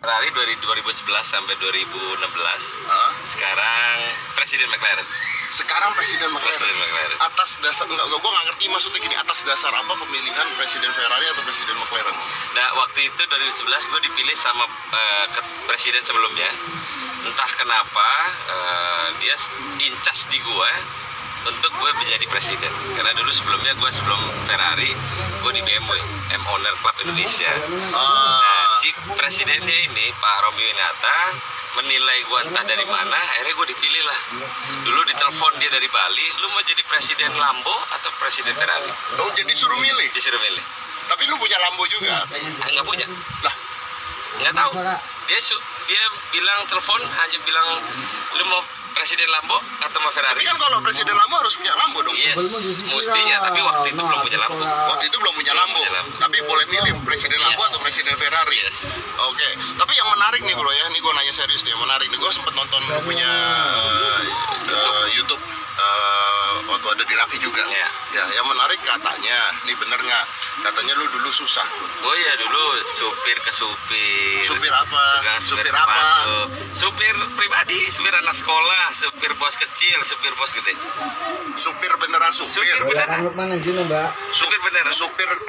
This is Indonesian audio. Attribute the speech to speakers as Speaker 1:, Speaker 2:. Speaker 1: Ferrari dari 2011 sampai 2016
Speaker 2: Hah?
Speaker 1: sekarang presiden McLaren
Speaker 2: Sekarang Presiden
Speaker 1: presiden
Speaker 2: McLaren
Speaker 1: McLaren
Speaker 2: atas dasar enggak gue nggak ngerti maksudnya gini atas dasar apa pemilihan Presiden Ferrari atau Presiden McLaren?
Speaker 1: nah waktu itu 2011 gue dipilih sama eh, ke- presiden sebelumnya entah kenapa eh, dia s- incas di gue untuk gue menjadi presiden karena dulu sebelumnya gue sebelum Ferrari gue di BMW M Owner Club Indonesia Nah,
Speaker 2: Ah,
Speaker 1: si presidennya ini Pak Romi Winata menilai gua entah dari mana, akhirnya gua dipilih lah. Dulu ditelepon dia dari Bali, lu mau jadi presiden Lambo atau presiden Ferrari?
Speaker 2: oh jadi suruh milih.
Speaker 1: Disuruh milih.
Speaker 2: Tapi lu punya Lambo juga. katanya.
Speaker 1: Ah, nggak punya,
Speaker 2: Lah,
Speaker 1: nggak tahu. Dia su- dia bilang telepon hanya bilang lu mau presiden Lambo atau mau
Speaker 2: tapi
Speaker 1: Ferrari?
Speaker 2: kan kalau Presiden Lambo harus punya Lambo dong.
Speaker 1: Yes, mestinya. Tapi waktu itu
Speaker 2: Nah,
Speaker 1: belum punya Lambo.
Speaker 2: Waktu itu belum punya Lambo,
Speaker 1: Punya Lambo.
Speaker 2: tapi boleh milih Presiden Lambo
Speaker 1: Yes.
Speaker 2: atau Presiden Ferrari.
Speaker 1: Yes.
Speaker 2: Oke, tapi yang menarik nih bro ya, ini gue nanya serius nih, yang menarik nih, gue sempet nonton lu punya eh, eh, YouTube eh, waktu ada di Raffi juga.
Speaker 1: Iya.
Speaker 2: Ya, yang menarik katanya, ini bener nggak? Katanya lu dulu susah.
Speaker 1: Oh iya dulu supir ke supir.
Speaker 2: Supir apa?
Speaker 1: Tukang supir,
Speaker 2: Supir
Speaker 1: sepatu.
Speaker 2: apa?
Speaker 1: Supir pribadi, supir anak sekolah, supir bos kecil, supir bos gede.
Speaker 2: Supir beneran supir.
Speaker 1: Supir beneran.
Speaker 3: Bayaran Lukman yang sini, Mbak.
Speaker 1: Supir beneran.
Speaker 2: Supir